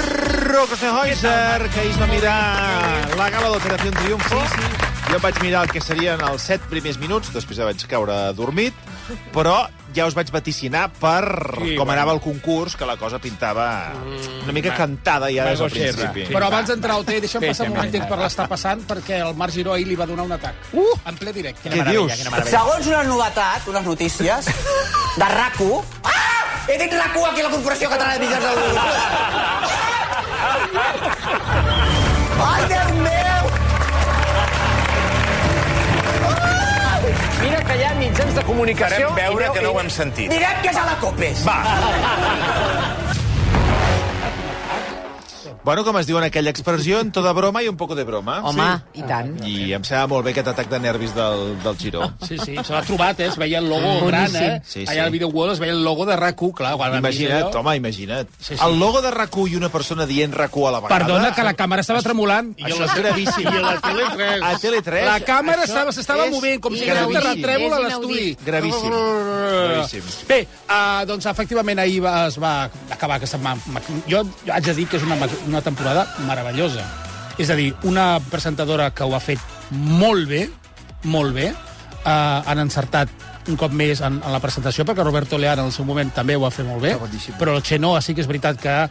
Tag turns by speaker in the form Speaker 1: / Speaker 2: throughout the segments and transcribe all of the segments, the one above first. Speaker 1: el José Heuser, que ahir es va mirar la gala d'Operació Triunfo. Sí, sí. Jo vaig mirar el que serien els set primers minuts, després ja vaig caure adormit, però ja us vaig vaticinar per sí,
Speaker 2: Sí,
Speaker 1: com
Speaker 2: bueno.
Speaker 1: anava el concurs, que la cosa pintava
Speaker 3: Mm,
Speaker 1: una mica cantada ja
Speaker 2: va
Speaker 1: des del
Speaker 2: goixerra.
Speaker 1: principi.
Speaker 2: Sí.
Speaker 3: Però abans d'entrar al té, deixa'm
Speaker 2: Deixa'm,
Speaker 3: passar un momentet per l'estar passant, perquè el Marc Giró ahir li va donar un atac. Uh! En ple directe.
Speaker 1: Què dius?
Speaker 4: Segons una novetat, unes notícies, de RAC1... Ah! He dit RAC1 aquí a la Corporació Catalana de Mitjans d'Audiovisuals. Ah! Ai, Déu meu!
Speaker 5: Mira que hi ha mitjans de comunicació...
Speaker 6: Farem veure que no ho hem sentit.
Speaker 4: Direm que és a la Copes. Va.
Speaker 1: Bueno, com es diu en aquella expressió, en toda broma i un poco de broma.
Speaker 5: Home, sí. i tant.
Speaker 1: Sí. I em sembla molt bé aquest atac de nervis del, del Giró.
Speaker 3: Sí, sí, se l'ha trobat, eh? Es veia el logo gran,
Speaker 5: Boníssim.
Speaker 3: eh?
Speaker 1: Sí, sí.
Speaker 3: Allà al Video World es veia el logo de RAC1, clar. Quan vam
Speaker 1: Imagina't,
Speaker 3: veure allò.
Speaker 1: home, imagina't.
Speaker 3: Sí, sí.
Speaker 1: El logo de rac i una persona dient rac a la vegada...
Speaker 3: Perdona, que la càmera estava tremolant.
Speaker 1: Això és gravíssim.
Speaker 2: I a la tele res.
Speaker 1: A Tele3...
Speaker 3: La càmera
Speaker 1: això
Speaker 3: estava- s'estava
Speaker 1: és
Speaker 3: movent, com si hi hagués un
Speaker 1: gravíssim.
Speaker 3: terratrèmol a
Speaker 5: És
Speaker 3: l'estudi. Oh,
Speaker 5: inaudit.
Speaker 1: Gravíssim. Gravíssim.
Speaker 3: Bé, uh, doncs efectivament ahir va, es va acabar aquesta... Ma ma jo haig de dir que és una, ma- una temporada meravellosa. És a dir, una presentadora que ho ha fet molt bé, molt bé, uh, han encertat un cop més en, en la presentació, perquè Roberto Leal en el seu moment també ho va fer molt bé, però el Xenoa sí que és veritat que eh,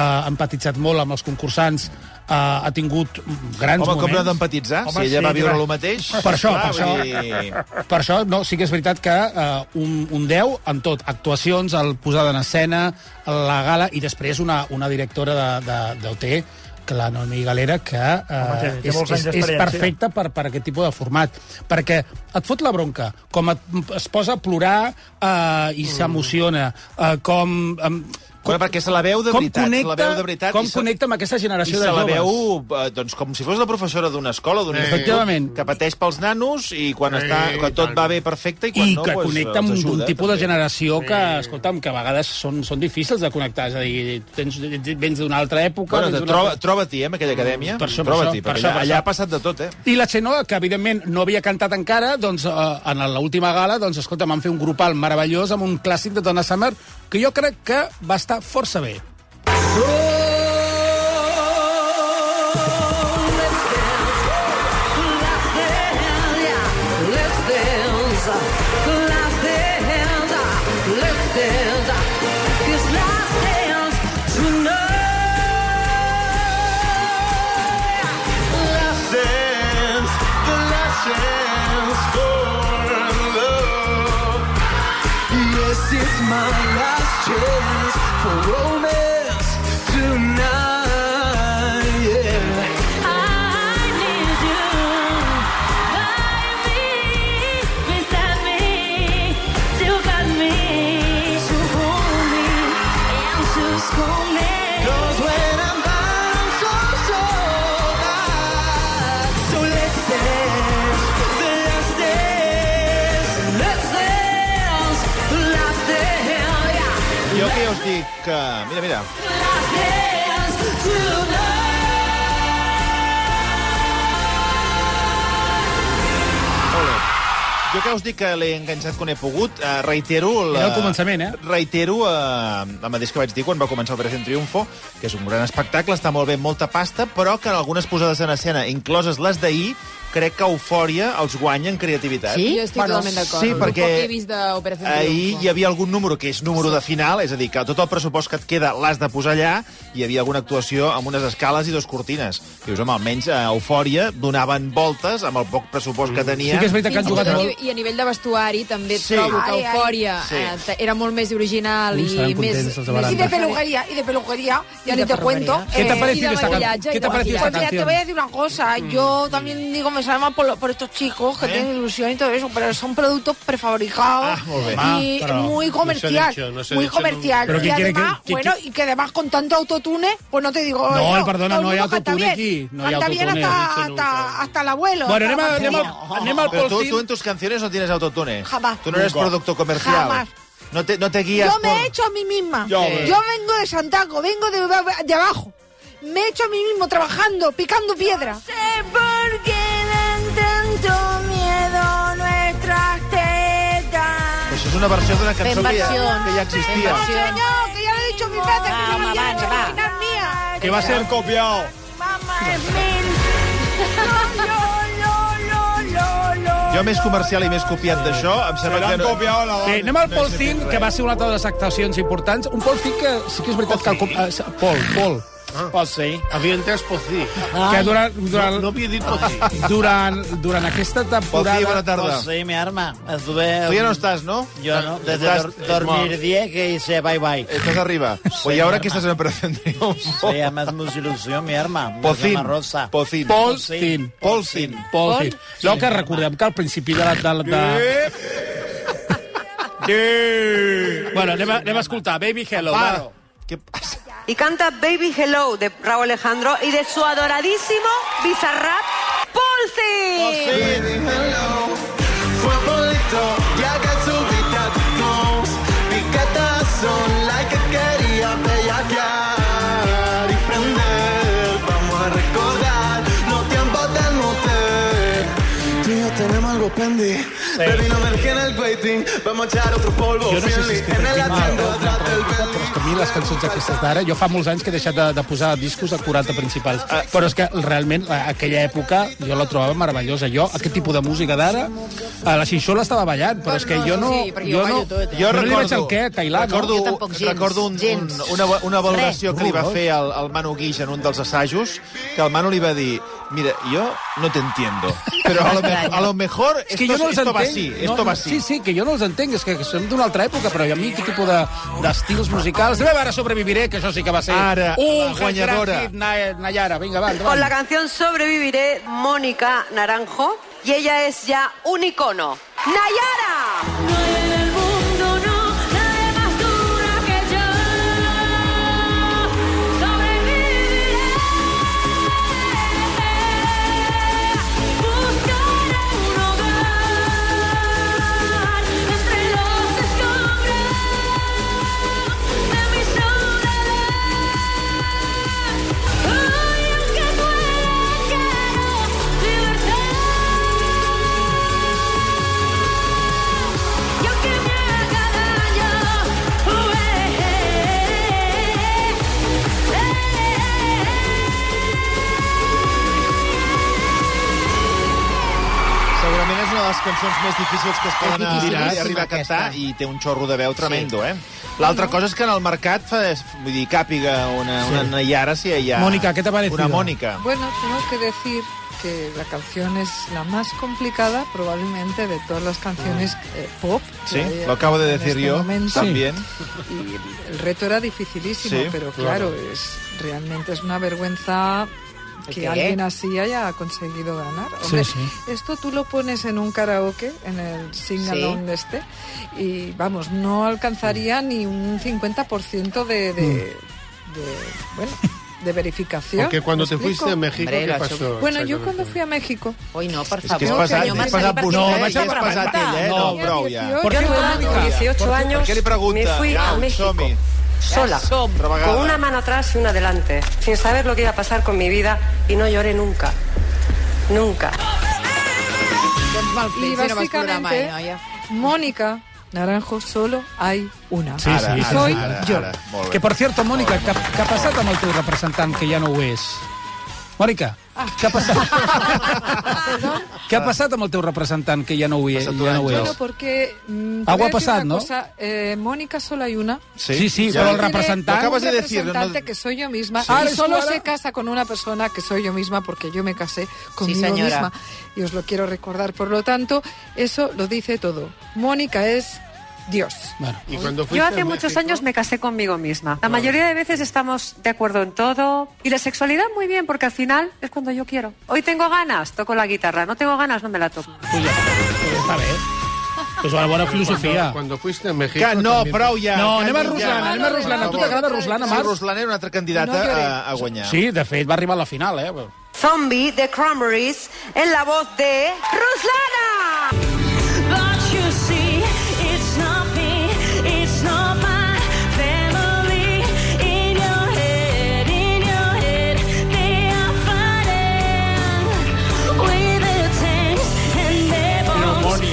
Speaker 3: ha empatitzat molt amb els concursants, eh, ha tingut grans
Speaker 1: Home, com
Speaker 3: moments.
Speaker 1: l'ha d'empatitzar?
Speaker 2: Home,
Speaker 1: Si ella
Speaker 2: sí,
Speaker 1: va viure
Speaker 2: clar.
Speaker 1: el mateix...
Speaker 3: Per això,
Speaker 1: clar,
Speaker 3: per
Speaker 1: vull
Speaker 3: això.
Speaker 1: dir,
Speaker 3: Per això, no, sí que és veritat que eh, un, un 10 en tot, actuacions, el posada en escena, la gala, i després una, una directora de, de, d'OT, que la Noemi Galera, que eh,
Speaker 2: Home, té- té
Speaker 3: és,
Speaker 2: molts anys
Speaker 3: és, és
Speaker 2: d'experiència.
Speaker 3: perfecta per, per aquest tipus de format, perquè et fot la bronca, com et, es posa a plorar eh,
Speaker 1: Mm.
Speaker 3: i s'emociona, eh, com... Eh,
Speaker 1: Bueno, perquè se la veu de
Speaker 3: com
Speaker 1: veritat, se la
Speaker 3: connecta,
Speaker 1: veu de veritat i
Speaker 3: com
Speaker 1: se-
Speaker 3: connecta amb aquesta
Speaker 1: I
Speaker 3: generació
Speaker 1: se
Speaker 3: de
Speaker 1: la
Speaker 3: joves.
Speaker 1: veu eh, doncs, com si fos la professora d'una escola, d'un
Speaker 3: Efectivament.
Speaker 1: institut, que pateix pels nanos i quan, està, quan tot va bé perfecte i quan
Speaker 3: I
Speaker 1: no,
Speaker 3: que
Speaker 1: doncs,
Speaker 3: connecta amb
Speaker 1: els ajuda,
Speaker 3: un tipus de
Speaker 1: també.
Speaker 3: generació que, escolta'm, que a vegades són, són difícils de connectar. És a dir, tens, vens d'una altra època...
Speaker 1: Bueno,
Speaker 3: vens
Speaker 1: te-
Speaker 3: d'una
Speaker 1: troba,
Speaker 3: altra-
Speaker 1: troba-t'hi, eh, amb aquella acadèmia.
Speaker 3: Per això, per
Speaker 1: troba-t'hi,
Speaker 3: això,
Speaker 1: perquè
Speaker 3: per això,
Speaker 1: allà,
Speaker 3: per
Speaker 1: allà
Speaker 3: això.
Speaker 1: ha passat de tot, eh?
Speaker 3: I la Xenoa, que evidentment no havia cantat encara, doncs eh, en l'última gala, doncs escolta, van fer un grupal meravellós amb un clàssic de Donna Summer que jo crec que va estar força bé.
Speaker 1: Jo que ja us dic que... Mira, mira. Ole. Jo que us dic que l'he enganxat quan he pogut, eh, reitero... La,
Speaker 3: Era el començament, eh?
Speaker 1: Reitero eh, el mateix que vaig dir quan va començar Operació Triunfo, que és un gran espectacle, està molt bé, molta pasta, però que en algunes posades en escena, incloses les d'ahir, crec que Eufòria els guanya en creativitat.
Speaker 5: Sí?
Speaker 7: Ah. Jo estic
Speaker 3: Bueno,
Speaker 7: totalment d'acord.
Speaker 1: sí, perquè
Speaker 7: El poc que he vist d'Operació
Speaker 1: Ahir
Speaker 7: Triunfo.
Speaker 1: hi havia algun número que és número de final, és a dir, que tot el pressupost que et queda l'has de posar allà, hi havia alguna actuació amb unes escales i dos cortines. Dius, home, almenys a Eufòria donaven voltes amb el poc pressupost que tenia.
Speaker 3: Mm. Sí que és veritat que
Speaker 7: Fins i
Speaker 3: han
Speaker 7: tot
Speaker 3: jugat
Speaker 7: a ni-
Speaker 3: molt.
Speaker 7: i a nivell de vestuari també
Speaker 1: Sí.
Speaker 7: sí. trobo que
Speaker 4: Ai, ai.
Speaker 7: Eufòria
Speaker 1: Sí.
Speaker 7: eh, t- era molt més original
Speaker 3: Ui,
Speaker 7: i
Speaker 3: estaran
Speaker 7: més...
Speaker 3: contents els de
Speaker 7: més
Speaker 3: Baranda.
Speaker 4: Y de peluquería, y de peluquería, ya
Speaker 7: de
Speaker 4: ni te
Speaker 7: perruquería.
Speaker 4: cuento.
Speaker 3: ¿Qué te ha
Speaker 7: Eh,
Speaker 3: parecido
Speaker 7: y de
Speaker 3: esta, can-
Speaker 7: maquillaje
Speaker 3: ¿qué te ha
Speaker 7: igual.
Speaker 3: parecido
Speaker 7: Pues
Speaker 3: esta
Speaker 4: Pues mira, te voy
Speaker 3: canción?
Speaker 4: a
Speaker 3: Mm.
Speaker 4: decir una cosa. Yo también digo, me sale mal por, lo- por estos chicos que
Speaker 1: ¿Eh?
Speaker 4: tienen ilusión y todo eso, pero son productos prefabricados
Speaker 1: Ah, muy bien.
Speaker 4: y
Speaker 3: Ah, pero
Speaker 4: muy comercial.
Speaker 2: no se ha dicho, no se ha
Speaker 4: muy
Speaker 2: dicho
Speaker 4: comercial.
Speaker 3: nunca. Pero
Speaker 4: y
Speaker 3: ¿quién quiere que-
Speaker 4: además,
Speaker 3: que-
Speaker 4: bueno,
Speaker 3: que-
Speaker 4: y que además con tanto autotune, pues no te digo.
Speaker 3: No,
Speaker 4: yo,
Speaker 3: perdona,
Speaker 4: todo el
Speaker 3: no hay
Speaker 4: mundo canta
Speaker 3: autotune
Speaker 4: bien.
Speaker 3: aquí, no hay
Speaker 4: Canta bien
Speaker 3: autotune,
Speaker 2: no se
Speaker 4: hasta,
Speaker 2: dice
Speaker 4: hasta,
Speaker 2: nunca.
Speaker 4: hasta el abuelo.
Speaker 3: Bueno,
Speaker 4: hasta
Speaker 3: anem, a,
Speaker 4: la
Speaker 3: anem, al,
Speaker 4: madrina.
Speaker 3: anem al
Speaker 1: Però tu,
Speaker 3: polsim.
Speaker 1: tu en tus canciones no tienes autotune.
Speaker 4: Jamás.
Speaker 1: Tú no eres
Speaker 4: Nunca.
Speaker 1: producto comercial.
Speaker 4: Jamás.
Speaker 1: No te, no te guías
Speaker 4: Yo me
Speaker 1: por...
Speaker 4: he hecho a mí misma.
Speaker 2: Yo,
Speaker 4: Yo,
Speaker 2: eh.
Speaker 4: vengo de Santaco, vengo de, de abajo. Me he hecho a mí mismo trabajando, picando piedra.
Speaker 8: sé por qué dan tanto miedo nuestras tetas.
Speaker 1: Això és una versió d'una cançó que ja,
Speaker 7: versions.
Speaker 1: que ja existia.
Speaker 7: Fent versions.
Speaker 4: No, que ya lo he dicho mi veces, que no me voy a imaginar mía.
Speaker 1: Que va a ser copiado.
Speaker 8: Mamá es mil. No, no, no, no, no,
Speaker 1: Jo més comercial i més copiat d'això, em sembla que... no-
Speaker 6: Eh,
Speaker 3: Bé, Eh, anem al
Speaker 1: No he
Speaker 3: Paul
Speaker 1: sentit
Speaker 3: Thing,
Speaker 1: res.
Speaker 3: que va ser una altra de les actuacions importants. Un Paul Thing que sí que és veritat que... El, com- eh, Paul, Paul.
Speaker 2: Pot ser. Ah. Havia entès pot ser.
Speaker 3: Que durant, durant,
Speaker 2: No, no havia dit pot ser.
Speaker 3: durant, durant aquesta
Speaker 1: Paul
Speaker 3: temporada...
Speaker 1: Thing, bona tarda.
Speaker 2: Pot ser, mi arma. Estuve...
Speaker 1: Tu ja no estàs, no?
Speaker 2: Yo no, desde dor-
Speaker 1: Estàs-
Speaker 2: dormir 10 que hice bye bye.
Speaker 1: Estàs arriba. Pues ja
Speaker 2: hermano.
Speaker 1: veure que estàs en Operación Triunfo.
Speaker 2: Se llama mucha ilusión, mi arma. Me
Speaker 1: Pocín.
Speaker 2: llama Rosa.
Speaker 1: Pocín.
Speaker 3: Paul Thing.
Speaker 1: Paul Thing.
Speaker 3: Paul Thing. No, que recordem que al principi de la... De, la- de...
Speaker 2: Eh?
Speaker 3: Bueno, anem a, anem a escoltar. Baby Hello, va.
Speaker 1: Què passa?
Speaker 9: Y canta Baby Hello de Raúl Alejandro y de su adoradísimo Bizarrap Polsi.
Speaker 3: Jo no sé si és que tractim a una altra època, però és que a mi les cançons aquestes d'ara... Jo fa molts anys que he deixat de, de posar discos de 40 principals,
Speaker 1: Ah.
Speaker 3: però és que realment a- aquella època jo la trobava meravellosa. Jo, aquest tipus de música d'ara, a la Xinxola estava ballant, però és que jo no...
Speaker 7: Sí, perquè jo
Speaker 3: no,
Speaker 7: ballo tot, eh?
Speaker 1: Jo
Speaker 3: no li
Speaker 1: recordo,
Speaker 3: vaig al què, Tailà,
Speaker 1: recordo,
Speaker 7: Jo tampoc, gens,
Speaker 1: recordo un, un,
Speaker 7: gens.
Speaker 1: una, una valoració
Speaker 3: Res.
Speaker 1: que li va
Speaker 3: Horrorós.
Speaker 1: fer el, el Manu Guix en un dels assajos, que el Manu li va dir, mira, jo no te entiendo, pero a lo, me- a lo mejor
Speaker 3: És
Speaker 1: esto,
Speaker 3: que jo no els
Speaker 1: esto va
Speaker 3: entenc.
Speaker 1: así,
Speaker 3: no,
Speaker 1: esto va
Speaker 3: no,
Speaker 1: así.
Speaker 3: sí, sí, que jo no els entenc, és que som d'una altra època, però a mi aquest tipus de- d'estils de, musicals... Anem a veure Sobreviviré, que això sí que va ser
Speaker 1: Ara, la
Speaker 3: un
Speaker 1: guanyadora.
Speaker 3: gran hit, Na- Nayara. Vinga, va, endavant.
Speaker 9: Con la canción Sobreviviré, Mónica Naranjo, y ella es ya un icono. ¡Nayara!
Speaker 8: No en el mundo, no, nadie más dura que yo. Sobreviviré. Buscaré un hogar entre los escombros de mi soledad. Hoy, aunque duela, quiero libertad. Yo que me haga daño, Eh,
Speaker 1: Segurament és una de les cançons més difícils que es poden
Speaker 5: És dificilíssima,
Speaker 1: a- arribar a cantar
Speaker 5: aquesta.
Speaker 1: i té un xorro de veu tremendo, eh? L'altra cosa és que en el mercat fa, vull dir, càpiga una, una Nayara si hi ha...
Speaker 3: Mònica, què t'ha parecido?
Speaker 1: Una Mònica.
Speaker 10: Bueno, tengo que decir que la canción es la más complicada probablemente de todas las canciones eh, pop. que
Speaker 1: Ah. Sí,
Speaker 10: hay
Speaker 1: lo acabo de
Speaker 10: en
Speaker 1: decir
Speaker 10: este
Speaker 1: yo
Speaker 10: momento.
Speaker 1: también.
Speaker 10: Y el reto era dificilísimo,
Speaker 1: Sí,
Speaker 10: pero claro, es realmente es una vergüenza que alguien así haya conseguido ganar. Hombre,
Speaker 3: sí.
Speaker 10: Esto tú lo pones en un karaoke, en el sing-along este, y vamos, no alcanzaría ni un 50% de, de, de,
Speaker 2: Mm.
Speaker 10: bueno, de verificación.
Speaker 2: Porque cuando
Speaker 10: ¿Me
Speaker 2: te
Speaker 10: explico?
Speaker 2: fuiste a México,
Speaker 5: Hombre,
Speaker 2: ¿qué
Speaker 5: la
Speaker 2: pasó?
Speaker 10: Bueno, yo cuando fui a México,
Speaker 5: Ui, no, per
Speaker 1: És que és
Speaker 5: favor,
Speaker 1: pesat,
Speaker 5: senyor
Speaker 1: és
Speaker 5: Marcelí,
Speaker 1: pesat
Speaker 5: per
Speaker 1: vostè,
Speaker 5: què
Speaker 1: és
Speaker 5: això per
Speaker 1: pesat
Speaker 5: aguantar?
Speaker 1: ell, eh?
Speaker 3: No,
Speaker 1: No,
Speaker 10: tenía
Speaker 1: prou ja.
Speaker 10: 18
Speaker 3: ¿Por qué
Speaker 9: Yo
Speaker 3: Mónica?
Speaker 9: con 18
Speaker 1: Per
Speaker 9: años
Speaker 1: què li pregunta?
Speaker 9: me fui
Speaker 1: Au,
Speaker 9: a México
Speaker 1: som-hi.
Speaker 9: sola,
Speaker 1: Otra vagada.
Speaker 9: con una mano atrás y una adelante, sin saber lo que iba a pasar con mi vida y no lloré nunca, nunca.
Speaker 5: Doncs mal
Speaker 10: y
Speaker 5: fet, si no vas plorar mai,
Speaker 7: ¿eh,
Speaker 10: básicamente
Speaker 5: noia.
Speaker 10: Mónica Naranjo solo hay una.
Speaker 3: Sí, sí, sí,
Speaker 10: soy
Speaker 3: sí,
Speaker 1: ara,
Speaker 10: yo.
Speaker 1: Ara, molt
Speaker 3: Que,
Speaker 1: bé.
Speaker 3: per cierto, Mònica, què què ha passat amb el teu representant, que ja no ho és? Mònica,
Speaker 10: Ah.
Speaker 3: què ha passat? què ha passat amb el teu representant, que ja no ho, és,
Speaker 1: Passat un
Speaker 3: ja no ho
Speaker 1: any,
Speaker 10: Bueno,
Speaker 3: és?
Speaker 10: porque... mm,
Speaker 3: Algo
Speaker 10: te voy a
Speaker 3: ha
Speaker 10: decir
Speaker 3: pasado,
Speaker 10: una
Speaker 3: ¿no?
Speaker 10: cosa, eh, Mónica solo hay una.
Speaker 3: Sí, sí,
Speaker 1: ja
Speaker 3: però
Speaker 1: ho
Speaker 3: el
Speaker 1: diré.
Speaker 3: representante-
Speaker 1: Lo acabas de
Speaker 10: Un
Speaker 1: decir. No,
Speaker 10: representante que soy yo misma.
Speaker 3: Sí. Ah,
Speaker 10: Y
Speaker 3: eres tú
Speaker 10: solo
Speaker 3: ahora.
Speaker 10: se casa con una persona que soy yo misma porque yo me casé conmigo
Speaker 5: señora.
Speaker 10: misma. Y os lo quiero recordar. Por lo tanto, eso lo dice todo. Mónica es Dios.
Speaker 3: Bueno,
Speaker 2: Y cuando fuiste
Speaker 9: Yo
Speaker 2: a
Speaker 9: hace muchos
Speaker 2: México-
Speaker 9: años me casé conmigo misma. La mayoría de veces estamos de acuerdo en todo. Y la sexualidad muy bien, porque al final es cuando yo quiero. Hoy tengo ganas, toco la guitarra. No tengo ganas, no me la toco.
Speaker 3: pues ja, pues ja està bé. És una bona filosofia.
Speaker 2: Cuando, cuando fuiste a México...
Speaker 1: Que no,
Speaker 2: también-
Speaker 1: prou ja.
Speaker 3: No,
Speaker 1: que
Speaker 3: anem a
Speaker 1: ja.
Speaker 3: Ruslana, anem a Ruslana. A tu t'agrada Ruslana,
Speaker 1: Sí,
Speaker 3: Marc?
Speaker 1: Ruslana era una altra candidata
Speaker 10: No lloré.
Speaker 1: a, a guanyar.
Speaker 3: Sí, de fet, va arribar a la final, eh?
Speaker 9: Zombie de Cranberries en la voz de Ruslana.
Speaker 8: But you see, it's not me, it's not my family. In your head, in your head, they are fighting with their tanks and their bombs. and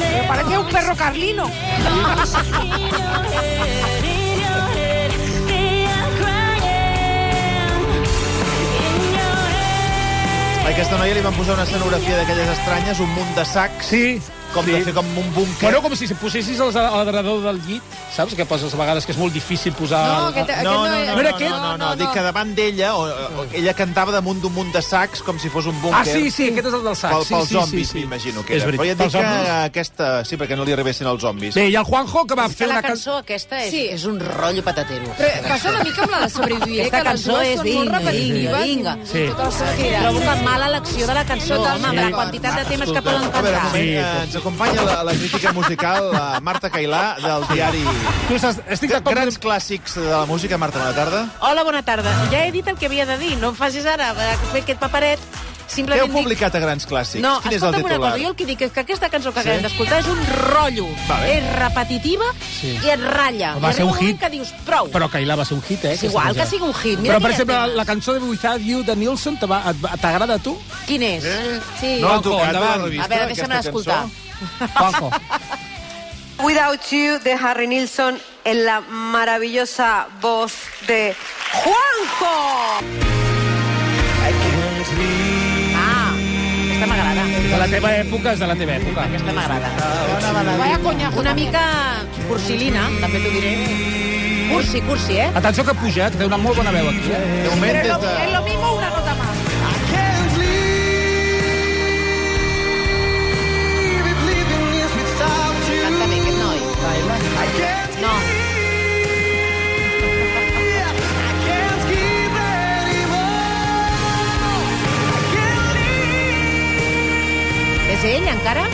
Speaker 8: their
Speaker 9: Parecía un perro carlino.
Speaker 8: bombs. In your head, in your head, they are crying.
Speaker 1: A aquesta noia li van posar una escenografia d'aquelles estranyes, un munt de sacs,
Speaker 3: sí,
Speaker 1: com
Speaker 3: sí.
Speaker 1: de fer com un búnquer.
Speaker 3: Bueno, com si se posessis els a- al darrador del llit, saps? Que poses a vegades que és molt difícil posar...
Speaker 7: No,
Speaker 3: el-
Speaker 7: aquest- aquest
Speaker 1: No, no, no,
Speaker 7: era-
Speaker 1: no, no,
Speaker 7: aquest?
Speaker 1: no, no, no, dic que davant d'ella, o, o, ella cantava damunt d'un munt de sacs com si fos un búnquer.
Speaker 3: Ah, sí, sí, aquest és el del sac.
Speaker 1: Pel,
Speaker 3: sí,
Speaker 1: pels
Speaker 3: sí,
Speaker 1: zombis,
Speaker 3: sí, sí.
Speaker 1: m'imagino que
Speaker 3: És
Speaker 1: era. Però ja et
Speaker 3: veritat,
Speaker 1: dic
Speaker 3: pels
Speaker 1: que
Speaker 3: zombis.
Speaker 1: aquesta... Sí, perquè no li arribessin els zombis.
Speaker 3: Bé, i el Juanjo, que va
Speaker 11: És
Speaker 3: fer
Speaker 11: que la
Speaker 3: una
Speaker 11: cançó aquesta eh? és,
Speaker 7: Sí.
Speaker 11: és un rotllo patatero.
Speaker 7: Però passa una mica amb la de sobreviure,
Speaker 11: Aquesta
Speaker 7: que les
Speaker 11: cançó
Speaker 7: dues
Speaker 11: és
Speaker 7: són molt
Speaker 11: vinga, vinga,
Speaker 7: repetitives.
Speaker 11: vinga.
Speaker 7: i-
Speaker 3: Sí.
Speaker 7: i Tot el sentit.
Speaker 11: Trobo que mala elecció de la cançó,
Speaker 7: Sí,
Speaker 11: home, amb la
Speaker 7: sí.
Speaker 11: quantitat de temes que
Speaker 1: Escolta,
Speaker 11: poden
Speaker 1: A veure, un
Speaker 11: cantar.
Speaker 1: moment, eh, ens acompanya la, la crítica musical la Marta Cailà, del diari...
Speaker 3: Tu estàs, estic d'acord...
Speaker 1: Grans clàssics de la música. Marta, bona tarda.
Speaker 11: Hola, bona tarda. Ja he dit el que havia de dir, no em facis ara eh, fer aquest paperet.
Speaker 1: Què heu
Speaker 11: Simplement dic
Speaker 1: publicat a Grans Clàssics?
Speaker 11: No,
Speaker 1: Quin és el
Speaker 11: escolta'm una
Speaker 1: titular?
Speaker 11: cosa, jo el que dic és que aquesta cançó que
Speaker 1: Sí?
Speaker 11: acabem d'escoltar és un rotllo.
Speaker 1: Vale.
Speaker 11: És repetitiva
Speaker 3: Sí.
Speaker 11: i et ratlla.
Speaker 3: Va
Speaker 11: I
Speaker 3: ser un
Speaker 11: arriba moment
Speaker 3: hit.
Speaker 11: que dius, prou.
Speaker 3: Però Cailà va ser un hit, eh?
Speaker 11: És igual
Speaker 3: aquesta
Speaker 11: que sigui un hit. Mira
Speaker 3: Però,
Speaker 11: que
Speaker 3: per
Speaker 11: hi ha
Speaker 3: exemple, la,
Speaker 11: temes.
Speaker 3: la cançó de Without You de Nilsson te va- et va- t'agrada a tu?
Speaker 11: Quin és? Sí.
Speaker 1: Eh? No han
Speaker 3: Juanjo,
Speaker 1: tocat a la
Speaker 3: endavant.
Speaker 1: revista,
Speaker 11: A veure, deixa'm
Speaker 1: aquesta
Speaker 11: escoltar.
Speaker 1: cançó?
Speaker 3: Juanjo.
Speaker 9: Without You de Harry Nilsson en la maravillosa voz de Juanjo.
Speaker 11: Ah, aquesta m'agrada.
Speaker 3: De la teva època és de la teva època.
Speaker 11: Aquesta m'agrada. Vaya conya, una mica cursilina, també t'ho diré. Cursi, cursi, eh?
Speaker 3: Atenció que puja, eh, que té una molt bona veu aquí. Eh?
Speaker 1: De moment, des de...
Speaker 11: Es lo mismo una nota más. Canta bé, aquest noi. No. És ell, encara?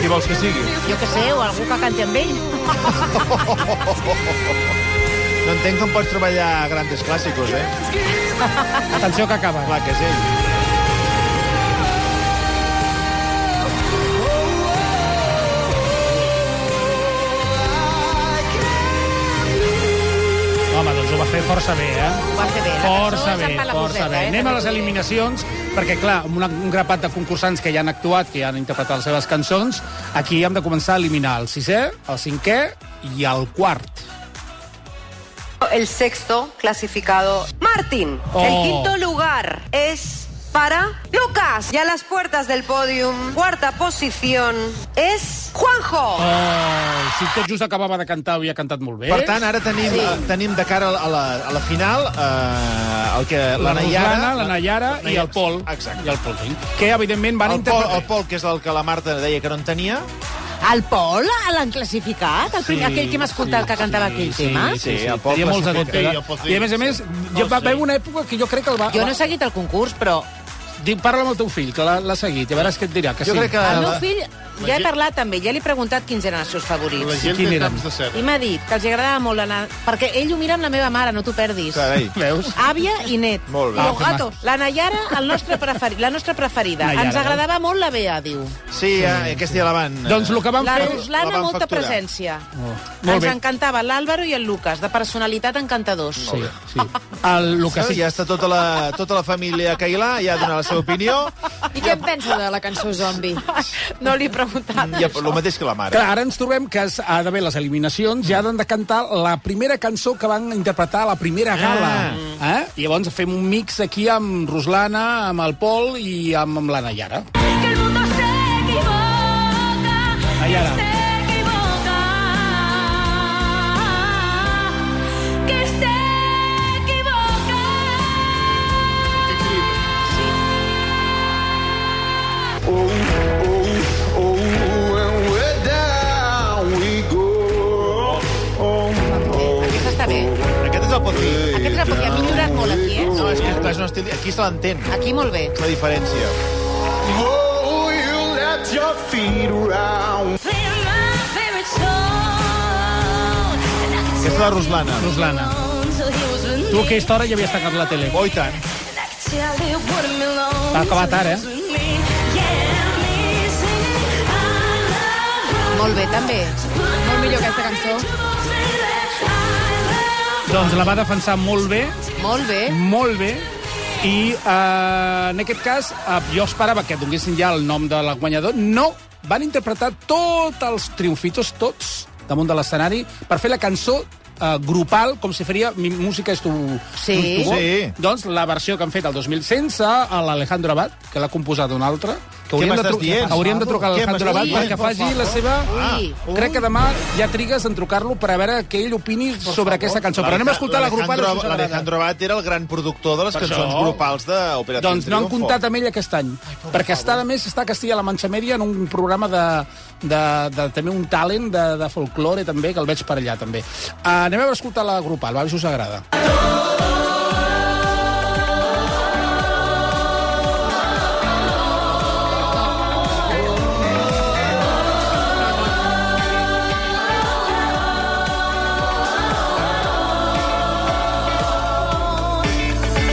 Speaker 1: Qui vols que sigui?
Speaker 11: Jo que sé, o algú que canti amb ell.
Speaker 1: No entenc com pots treballar a Grandes Clàssicos, eh?
Speaker 3: Atenció que acaba.
Speaker 1: Clar que és ell.
Speaker 3: Home, doncs ho va fer força bé, eh?
Speaker 11: Ho va fer bé. La
Speaker 3: Força
Speaker 11: cançó ens
Speaker 3: bé,
Speaker 11: en fa la
Speaker 3: força
Speaker 11: coseta,
Speaker 3: bé.
Speaker 11: eh?
Speaker 3: Anem a
Speaker 11: També
Speaker 3: les
Speaker 11: t'ho diré.
Speaker 3: eliminacions, perquè, clar, amb una, un grapat de concursants que ja han actuat, que ja han interpretat les seves cançons, aquí hem de començar a eliminar el sisè, el cinquè i el quart.
Speaker 9: El sexto clasificado, Martín.
Speaker 3: Oh.
Speaker 9: El quinto lugar es para Lucas. Ya las puertas del podium. Cuarta posición es Juanjo.
Speaker 3: Oh, si tot just acabava de cantar, havia cantat molt bé.
Speaker 1: Per tant, ara tenim, sí. tenim de cara a la, a la final eh, el que
Speaker 3: la,
Speaker 1: la, Nayara...
Speaker 3: Ruslana, la Nayara i el Pol.
Speaker 1: Exacte.
Speaker 3: I el Pol, sí. Que, evidentment, van
Speaker 1: El Pol,
Speaker 3: interpretar...
Speaker 1: el Pol, que és el que la Marta deia que no en tenia.
Speaker 11: El Pol l'han classificat? El primer, aquell que hem escoltat que cantava aquell tema?
Speaker 1: Sí, el Pol
Speaker 3: Tenia molts
Speaker 1: classifica.
Speaker 3: adeptes.
Speaker 2: Sí, el Pol sí.
Speaker 3: I, a més a més, jo, va, va haver una època que jo crec que el va...
Speaker 11: Jo no he seguit el concurs, però
Speaker 3: Dic, parla amb el teu fill, que l'ha l'ha seguit, i veuràs què et dirà, que
Speaker 1: Jo
Speaker 3: sí.
Speaker 1: crec que...
Speaker 11: el
Speaker 3: Ah.
Speaker 11: meu
Speaker 1: la-
Speaker 11: fill... Ja he parlat també, ja li he preguntat quins eren els seus
Speaker 2: La
Speaker 11: favorits.
Speaker 2: gent
Speaker 3: Quin
Speaker 2: de
Speaker 3: eren?
Speaker 2: camps de cera.
Speaker 11: I m'ha dit que els agradava molt la... Na- Perquè ell ho mira amb la meva mare, no t'ho perdis.
Speaker 1: Carai,
Speaker 3: Veus?
Speaker 11: Àvia i net.
Speaker 1: Molt bé.
Speaker 11: Los gatos. La Nayara, el nostre preferi... la nostra preferida.
Speaker 3: Nayara.
Speaker 11: Ens agradava molt la Bea, diu.
Speaker 1: sí, eh, aquesta ja la van... eh,
Speaker 3: Doncs el que van
Speaker 11: La
Speaker 3: fer...
Speaker 1: la
Speaker 11: Ruslana,
Speaker 1: van
Speaker 11: molta
Speaker 1: facturar.
Speaker 11: presència. Oh.
Speaker 3: Molt
Speaker 11: Ens
Speaker 3: bé.
Speaker 11: encantava l'Àlvaro i el Lucas, de personalitat encantadors.
Speaker 3: Sí, sí. El, el que
Speaker 1: Sí,
Speaker 3: sí.
Speaker 1: ja està tota la, tota la família Cailà, ja ha donat la seva opinió,
Speaker 7: I què en pensa de la cançó Zombi?
Speaker 11: No li he preguntat.
Speaker 1: i el mateix que la mare.
Speaker 3: Clar, ara ens trobem que es- ha d'haver les eliminacions, ja han de cantar la primera cançó que van interpretar a la primera gala. Ah. Eh? Llavors fem un mix aquí amb Ruslana, amb el Pol i amb, amb la Nayara.
Speaker 8: Que el mundo se equivoca,
Speaker 3: Nayara.
Speaker 8: se equivoca, que se equivoca.
Speaker 11: Aquesta està bé.
Speaker 1: Aquest és el Potri.
Speaker 11: Aquest repot ha millorat molt aquí, eh?
Speaker 1: No, és que clar, és un estil... Aquí se l'entén,
Speaker 11: Aquí molt bé.
Speaker 1: és la diferència.
Speaker 8: Play my favorite song, and I can
Speaker 1: Aquesta és la Ruslana.
Speaker 3: Ruslana.
Speaker 8: tell he was with
Speaker 3: Tu a
Speaker 8: me.
Speaker 3: aquesta hora ja havies tancat la tele.
Speaker 1: Oh, i tant.
Speaker 8: And I can tell he wouldn't belong
Speaker 3: Va acabar
Speaker 8: till he
Speaker 3: tard,
Speaker 8: was
Speaker 3: eh?
Speaker 8: with me. Yeah, me singing, I love rock.
Speaker 7: Molt bé, també. Molt millor aquesta cançó.
Speaker 3: Doncs la va defensar molt bé,
Speaker 7: Molt bé.
Speaker 3: molt bé, i eh, en aquest cas eh, jo esperava que donessin ja el nom de la guanyador. No, van interpretar tots els triomfitos, tots, damunt de l'escenari, per fer la cançó eh, grupal, com se faria Mi música és tu...
Speaker 11: Sí.
Speaker 3: tu voz.
Speaker 11: Sí.
Speaker 3: Doncs la versió que han fet el 2016 a l'Alejandro Abad, que l'ha composat un altre, que
Speaker 1: Què
Speaker 3: hauríem, de,
Speaker 1: m'estàs dient?
Speaker 3: hauríem de trucar a
Speaker 1: Què
Speaker 3: l'Alejandro
Speaker 1: m'estàs
Speaker 3: Abad
Speaker 1: dient?
Speaker 3: perquè
Speaker 1: Por
Speaker 3: faci la
Speaker 1: favor. Ah,
Speaker 3: seva...
Speaker 1: Ui.
Speaker 3: Crec que demà ja trigues en trucar-lo per a veure què ell opini sobre aquesta cançó. Però anem a escoltar la grupal.
Speaker 1: L'Alejandro-
Speaker 3: no sé si us agrada.
Speaker 1: L'Alejandro Abad era el gran productor de les
Speaker 3: Per
Speaker 1: cançons
Speaker 3: això.
Speaker 1: grupals d'Operació
Speaker 3: Doncs no han comptat amb ell aquest any. perquè està, a més, està a Castilla-La Manxa Mèdia en un programa de, de, de també un talent de, de folklore, també, que el veig per allà, també. Uh, anem a escoltar la grupal, va, a veure si us agrada.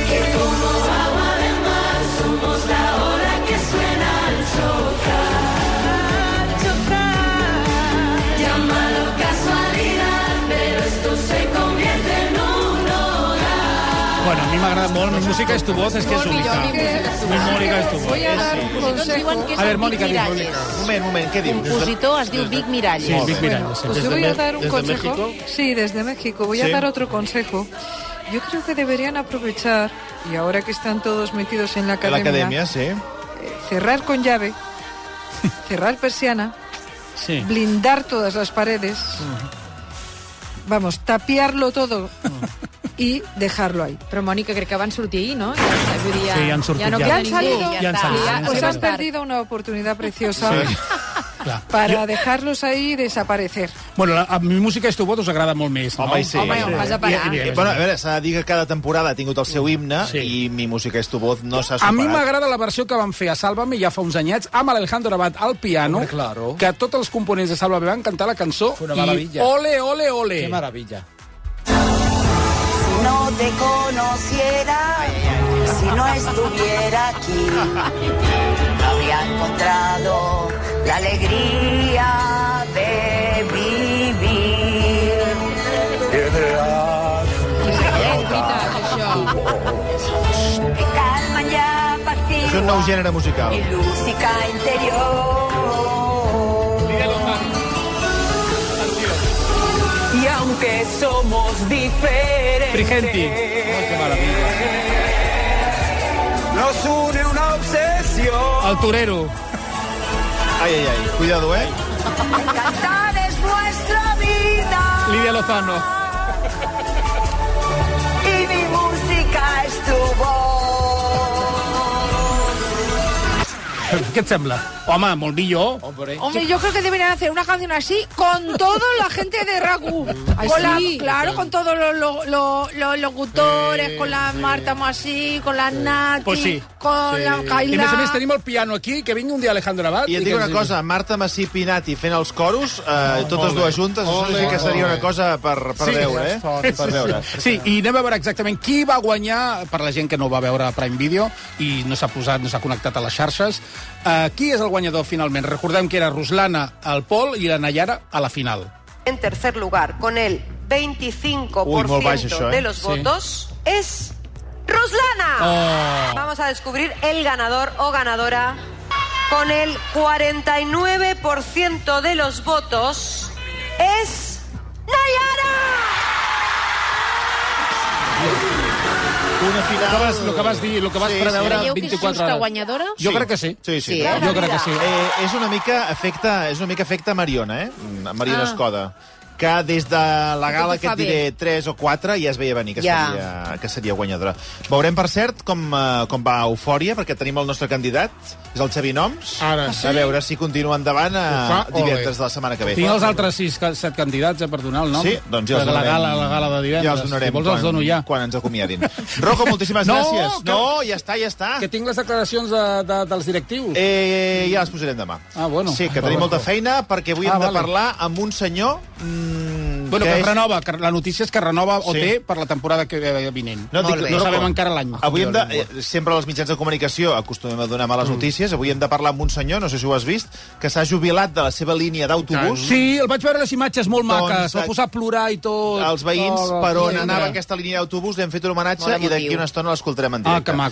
Speaker 8: Agua de mar, somos la ola que suena al chocar, chocar. Llámalo casualidad, pero esto se convierte en un hogar.
Speaker 3: Bueno, a mi m'agrada molt. Mi música és tu voz, és que és única. Mi música és tu voz.
Speaker 10: Voy a dar un
Speaker 5: doncs
Speaker 10: consejo.
Speaker 3: A ver, Mónica, diu,
Speaker 11: Miralles.
Speaker 3: Mónica.
Speaker 1: moment, moment, què dius?
Speaker 11: compositor es diu Vic Miralles.
Speaker 3: Sí, Vic Miralles. sí.
Speaker 10: Pues yo voy a dar un consejo. Sí, desde México. Voy a
Speaker 3: Sí.
Speaker 10: dar otro consejo. Yo creo que deberían aprovechar, y ahora que están todos metidos en la
Speaker 1: A
Speaker 10: academia, eh,
Speaker 1: l'acadèmia, sí.
Speaker 10: cerrar con llave, cerrar persiana,
Speaker 3: Sí.
Speaker 10: blindar todas las paredes, vamos, tapiarlo todo y dejarlo ahí.
Speaker 5: Però, Mònica, crec que van sortir ahir, no? Ja, ja, vull dir, ja,
Speaker 10: Sí,
Speaker 3: ja han sortit,
Speaker 5: ja. no
Speaker 3: ja.
Speaker 5: queda
Speaker 3: Ja han
Speaker 5: ningú.
Speaker 10: salido.
Speaker 3: Ja han salido,
Speaker 5: Ja,
Speaker 3: ja han
Speaker 5: o
Speaker 10: Os
Speaker 5: sea,
Speaker 10: han
Speaker 5: has perdit-
Speaker 10: perdido una oportunidad preciosa
Speaker 3: Clar.
Speaker 10: para dejarlos ahí y desaparecer.
Speaker 3: Bueno, la, a mi música és tu voz us agrada molt més. No?
Speaker 1: Home, i sí.
Speaker 10: vas a parar.
Speaker 1: I, i, i, bueno, a veure, s'ha de dir que cada temporada ha tingut el seu himne sí. i Mi música és tu voz no s'ha
Speaker 3: A mi
Speaker 1: superat.
Speaker 3: m'agrada la versió que van fer a Sálvame ja fa uns anyets amb Alejandro Abad al piano, Hombre, claro. que tots els components de Sálvame van cantar la cançó
Speaker 2: Fue una
Speaker 3: i
Speaker 2: maravilla.
Speaker 3: ole, ole, ole.
Speaker 2: Qué maravilla.
Speaker 12: Si no te conociera, si no estuviera aquí, no habría encontrado la alegría de vivir. Me calma ya
Speaker 1: És un
Speaker 12: apacigua
Speaker 1: nou gènere musical.
Speaker 12: mi lúcica interior. Y aunque somos diferentes,
Speaker 4: Nos une una obsesión.
Speaker 3: El torero.
Speaker 1: Ai, ai, ai, cuidado, eh?
Speaker 12: cantar es nuestra vida.
Speaker 3: Lidia Lozano.
Speaker 12: y mi música es tu voz.
Speaker 3: Què et sembla? Home, molt millor.
Speaker 11: Hombre, yo creo que deberían hacer una canción así con toda la gente de Ragu. Con la-
Speaker 5: sí.
Speaker 11: claro, con todos los, los- los- los locutores, con la Marta Masí, con la Nati,
Speaker 3: Pues sí. este
Speaker 11: con la
Speaker 3: I a
Speaker 11: Kaila.
Speaker 3: més a més tenim el piano aquí, que vingui un dia Alejandro Abad.
Speaker 1: I et dic
Speaker 3: que
Speaker 1: una
Speaker 3: ens digui.
Speaker 1: cosa, Marta Massí Pinati fent els coros, eh, totes dues juntes, això sí que seria una cosa per, per veure, eh? Per veure.
Speaker 3: Sí, i anem a veure exactament qui va guanyar, per la gent que no va veure Prime Video i no s'ha posat, no s'ha connectat a les xarxes, uh, qui és el guanyador finalment? Recordem que era Ruslana al Pol i la Nayara a la final.
Speaker 13: En tercer lugar, con el 25%
Speaker 3: Uy, molt baix, això, eh?
Speaker 13: de los
Speaker 3: Sí.
Speaker 13: votos, es Ruslana.
Speaker 3: Oh.
Speaker 13: Vamos a descubrir el ganador o ganadora. Con el 49% de los votos, es Nayara.
Speaker 1: Una final...
Speaker 3: El que vas, el que vas dir, el que vas sí, preveure
Speaker 7: Creieu que és
Speaker 3: 24
Speaker 7: justa
Speaker 3: hores.
Speaker 7: guanyadora?
Speaker 3: Jo crec que sí.
Speaker 1: Sí, sí.
Speaker 7: Sí, eh?
Speaker 3: Jo crec que sí.
Speaker 1: Eh, és una mica efecte, és una mica efecte Mariona, eh? Mm, Mariona
Speaker 7: Ah.
Speaker 1: Escoda que des de la
Speaker 7: Que tot
Speaker 1: gala
Speaker 7: ho
Speaker 1: que
Speaker 7: fa
Speaker 1: et diré 3 o 4 ja es veia venir que,
Speaker 7: Ja.
Speaker 1: seria, que seria guanyadora. Veurem, per cert, com, eh, com va Eufòria, perquè tenim el nostre candidat, és el Xavi Noms. Ara,
Speaker 3: Ah, sí?
Speaker 1: A veure si continua endavant a,
Speaker 3: Ho fa, ole.
Speaker 1: divendres de la setmana que ve.
Speaker 3: Tinc els altres sis, ca- set candidats, eh, per donar el nom.
Speaker 1: Sí, doncs ja els
Speaker 3: la, la
Speaker 1: donarem.
Speaker 3: gala, la gala de divendres.
Speaker 1: Ja els donarem
Speaker 3: si vols, els
Speaker 1: quan-
Speaker 3: dono ja.
Speaker 1: Quan ens acomiadin. Rocco, moltíssimes
Speaker 3: No,
Speaker 1: gràcies.
Speaker 3: que-
Speaker 1: No, ja està, ja està.
Speaker 3: Que tinc les declaracions de, de, dels directius.
Speaker 1: Eh, ja les posarem demà.
Speaker 3: Ah, bueno.
Speaker 1: Sí, que
Speaker 3: Ah,
Speaker 1: tenim
Speaker 3: va,
Speaker 1: molta
Speaker 3: va.
Speaker 1: feina perquè avui
Speaker 3: Ah,
Speaker 1: hem de
Speaker 3: vale.
Speaker 1: parlar amb un senyor... Mm,
Speaker 3: Bueno, que,
Speaker 1: és-
Speaker 3: renova, que la notícia és que renova
Speaker 1: Sí.
Speaker 3: OT per la temporada que ve vinent.
Speaker 1: No, dic,
Speaker 3: no sabem encara l'any.
Speaker 1: Avui hem de, eh, sempre als mitjans de comunicació acostumem a donar
Speaker 3: Mm.
Speaker 1: males notícies. Avui hem de parlar amb un senyor, no sé si ho has vist, que s'ha jubilat de la seva línia d'autobús.
Speaker 3: Sí, el vaig veure les imatges molt
Speaker 1: Doncs,
Speaker 3: maques. Va
Speaker 1: eh,
Speaker 3: posar a plorar i tot. Ah,
Speaker 1: Els veïns
Speaker 3: Oh,
Speaker 1: per on
Speaker 3: sí,
Speaker 1: anava
Speaker 3: mira.
Speaker 1: aquesta línia d'autobús li hem fet un homenatge
Speaker 3: Molt
Speaker 1: i d'aquí
Speaker 3: emotiu.
Speaker 1: una estona l'escoltarem en directe.
Speaker 3: Ah, que maco.